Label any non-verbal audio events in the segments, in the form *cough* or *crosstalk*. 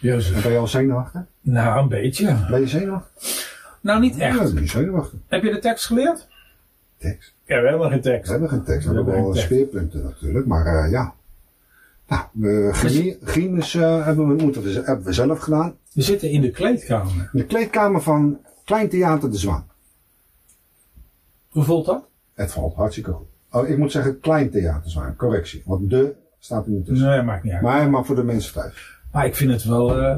Jezus. Ben je al zenuwachtig? Nou, een beetje. Ben je zenuwachtig? Nou, niet Ja, echt. ik ben zenuwachtig. Heb je de tekst geleerd? Tekst. Ja, we hebben geen We tekst. hebben geen tekst, we We hebben hebben wel geen tekst. speerpunten natuurlijk, maar eh, ja. Nou, eh, Dus- chemie, chemisch eh, hebben, we, moeten we, z- hebben we zelf gedaan. We zitten in de kleedkamer. In de kleedkamer van Klein Theater de Zwaan. Hoe voelt dat? Het valt hartstikke goed. Oh, ik moet zeggen Klein Theater Zwaan, correctie. Want de staat er niet tussen. Nee, maakt niet uit. Maar, Maar, maar voor de mensen thuis. ik vind het wel... eh,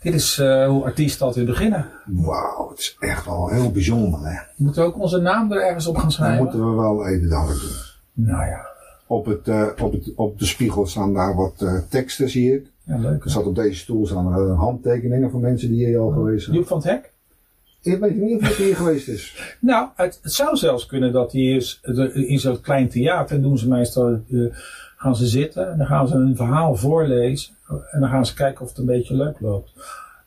dit is eh, hoe artiesten altijd beginnen. Wauw, het is echt wel heel bijzonder hè. Moeten we ook onze naam er ergens op gaan Dan schrijven? moeten we wel even dadelijk doen. Nou ja. Op, het, eh, op, het, op de spiegel staan daar wat eh, teksten, zie ik. ja, leuk. Er zat op deze stoel staan eh, handtekeningen van mensen die hier al geweest zijn. Joep van het Hek? Ik weet niet of het hier geweest is. Nou, het, het zou zelfs kunnen dat hij is de- in zo'n klein theater. doen ze meestal, eh, gaan ze zitten en dan gaan ze een verhaal voorlezen. En dan gaan ze kijken of het een beetje leuk loopt.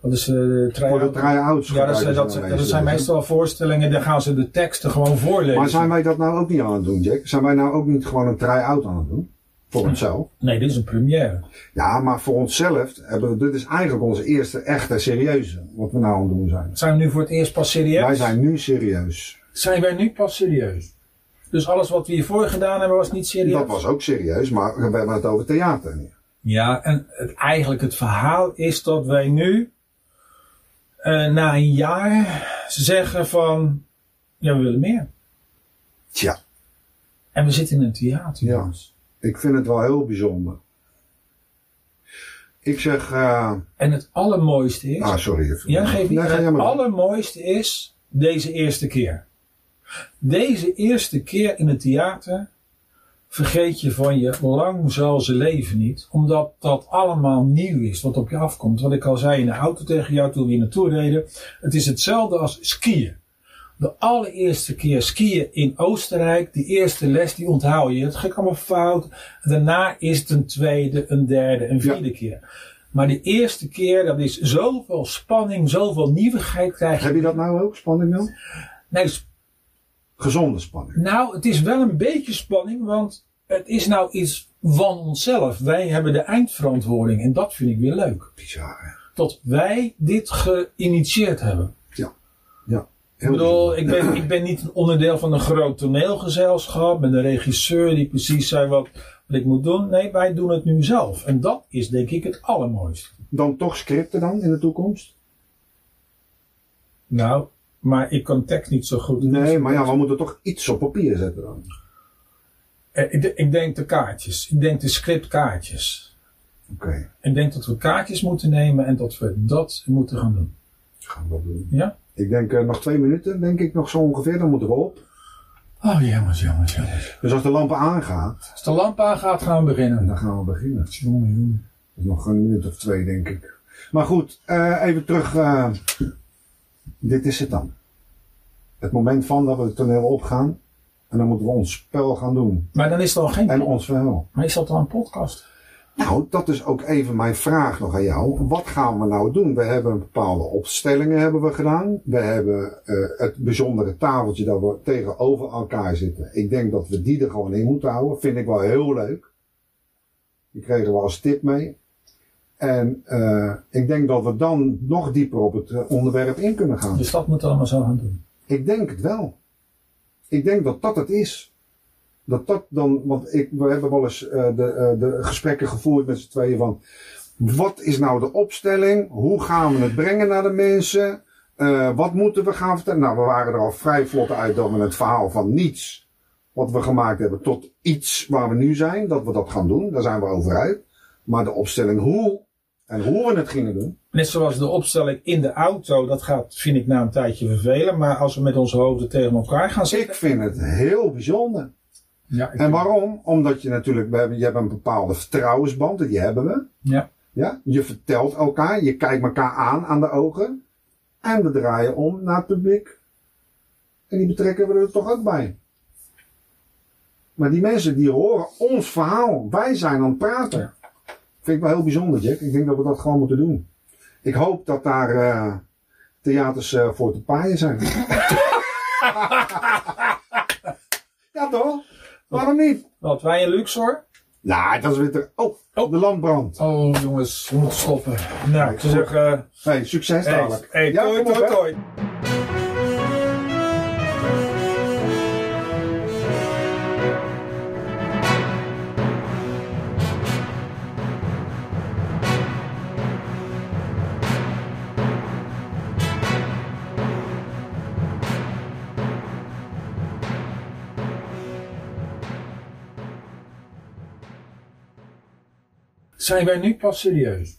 Dat is eh de try- Voor de try-outs. Ja, dat, gebruiken is- dat, ze zijn- dan dat deze zijn dingen. meestal voorstellingen. Dan gaan ze de teksten gewoon voorlezen. eh. Maar zijn wij dat nou ook niet aan het doen, Jack? Zijn wij nou ook niet gewoon een try-out aan het doen? Hm. Voor onszelf? Nee, dit is een première. Ja, maar voor onszelf hebben we, dit is eigenlijk onze eerste echte serieuze, wat we nou aan het doen zijn. Zijn we nu voor het eerst pas serieus? Wij zijn nu serieus. Zijn wij nu pas serieus? Dus alles wat we hiervoor gedaan hebben was niet serieus? Dat was ook serieus, maar we hebben het over theater. nu. Ja, en het, eigenlijk het verhaal is dat wij nu eh, na een jaar zeggen van, ja, we willen meer. Tja, En we zitten in een theater. Ja. jongens. ik vind het wel heel bijzonder. Ik zeg, eh, En het allermooiste is, ah sorry. even. ja, geef niet, Nee, ga jij het maar door. allermooiste is deze eerste keer. Deze eerste keer in het theater vergeet je van je lang zal ze leven niet, omdat dat allemaal nieuw is wat op je afkomt. Wat ik al zei in de auto tegen jou toen we hier naartoe reden, het is hetzelfde als skiën. De allereerste keer skiën in Oostenrijk, die eerste les, die onthoud je. Het ging allemaal fout. Daarna is het een tweede, een derde, een vierde keer. Maar de eerste keer, dat is zoveel spanning, zoveel nieuwigheid krijg je. Heb je dat nou ook, spanning dan? Nee, sp- Gezonde spanning. nou, het is wel een beetje spanning, want het is nou iets van onszelf. Wij hebben de eindverantwoording en dat vind ik weer leuk. Bizar, hè? Dat wij dit geïnitieerd hebben. Heel Ik bedoel, bijzonder. ik ben, ik ben niet een onderdeel van een groot toneelgezelschap met een regisseur die precies zei wat, wat ik moet doen. Nee, wij doen het nu zelf. En dat is denk ik het allermooiste. Dan toch scripten dan in de toekomst? Nou, maar ik kan tekst niet zo goed. Nee, maar ja, we moeten toch iets op papier zetten dan. Eh, Ik, de- ik denk de kaartjes. Ik denk de scriptkaartjes. Oké, Ik denk dat we kaartjes moeten nemen en dat we dat moeten gaan doen. gaan we dat doen. Ja? Ik denk eh, nog twee minuten, denk ik nog zo ongeveer, dan moeten we op. Oh, jongens, jongens, jongens. Dus als de lampen aangaat, Als de lamp aangaat, gaan we beginnen. dan gaan we beginnen. Dus Jongen, jongen. nog een minuut of twee, denk ik. Maar goed, eh, even terug. eh, dit is het dan. Het moment van dat we het toneel opgaan. En dan moeten we ons spel gaan doen. Maar dan is het al geen. En ons verhaal. Maar is dat al een podcast? Nou, dat is ook even mijn vraag nog aan jou. Wat gaan we nou doen? We hebben bepaalde opstellingen hebben we gedaan. We hebben eh, het bijzondere tafeltje dat we tegenover elkaar zitten. Ik denk dat we die er gewoon in moeten houden. Vind ik wel heel leuk. Die kregen we als tip mee. En eh, ik denk dat we dan nog dieper op het eh, onderwerp in kunnen gaan. Dus dat moeten we allemaal zo gaan doen. Ik denk het wel. Ik denk dat dat het is. Dat dat dan, want ik, we hebben wel eens eh, de, eh, de gesprekken gevoerd met z'n tweeën van. Wat is nou de opstelling? Hoe gaan we het brengen naar de mensen? Eh, wat moeten we gaan vertellen? Nou, we waren er al vrij vlot uit dat we het verhaal van niets, wat we gemaakt hebben, tot iets waar we nu zijn, dat we dat gaan doen. Daar zijn we over uit. Maar de opstelling hoe en hoe we het gingen doen, Net zoals de opstelling in de auto, dat gaat, vind ik, na een tijdje vervelen. Maar als we met onze hoofden tegen elkaar gaan ik zitten. vind het heel bijzonder. Ja, ik- En waarom? Omdat je natuurlijk, we hebben, je hebt een bepaalde vertrouwensband, en die hebben we. Ja. Ja? Je vertelt elkaar, je kijkt elkaar aan aan de ogen. En we draaien om naar het publiek. En die betrekken we er toch ook bij. Maar die mensen die horen ons verhaal, wij zijn aan het praten. Ja. Vind ik wel heel bijzonder, Jack. Ik denk dat we dat gewoon moeten doen. Ik hoop dat daar eh, theaters eh, voor te paaien zijn. *laughs* ja toch? Waarom niet? Wat wij in Luxor, Nou, dat is weer te... Oh, Oh. de landbrand. Oh jongens, we moeten stoppen. Nou, ik zou zeggen, Hey, succes hey, dadelijk. hey, Ja, toi, kom op, toi, hè. toi. Zijn wij nu pas serieus?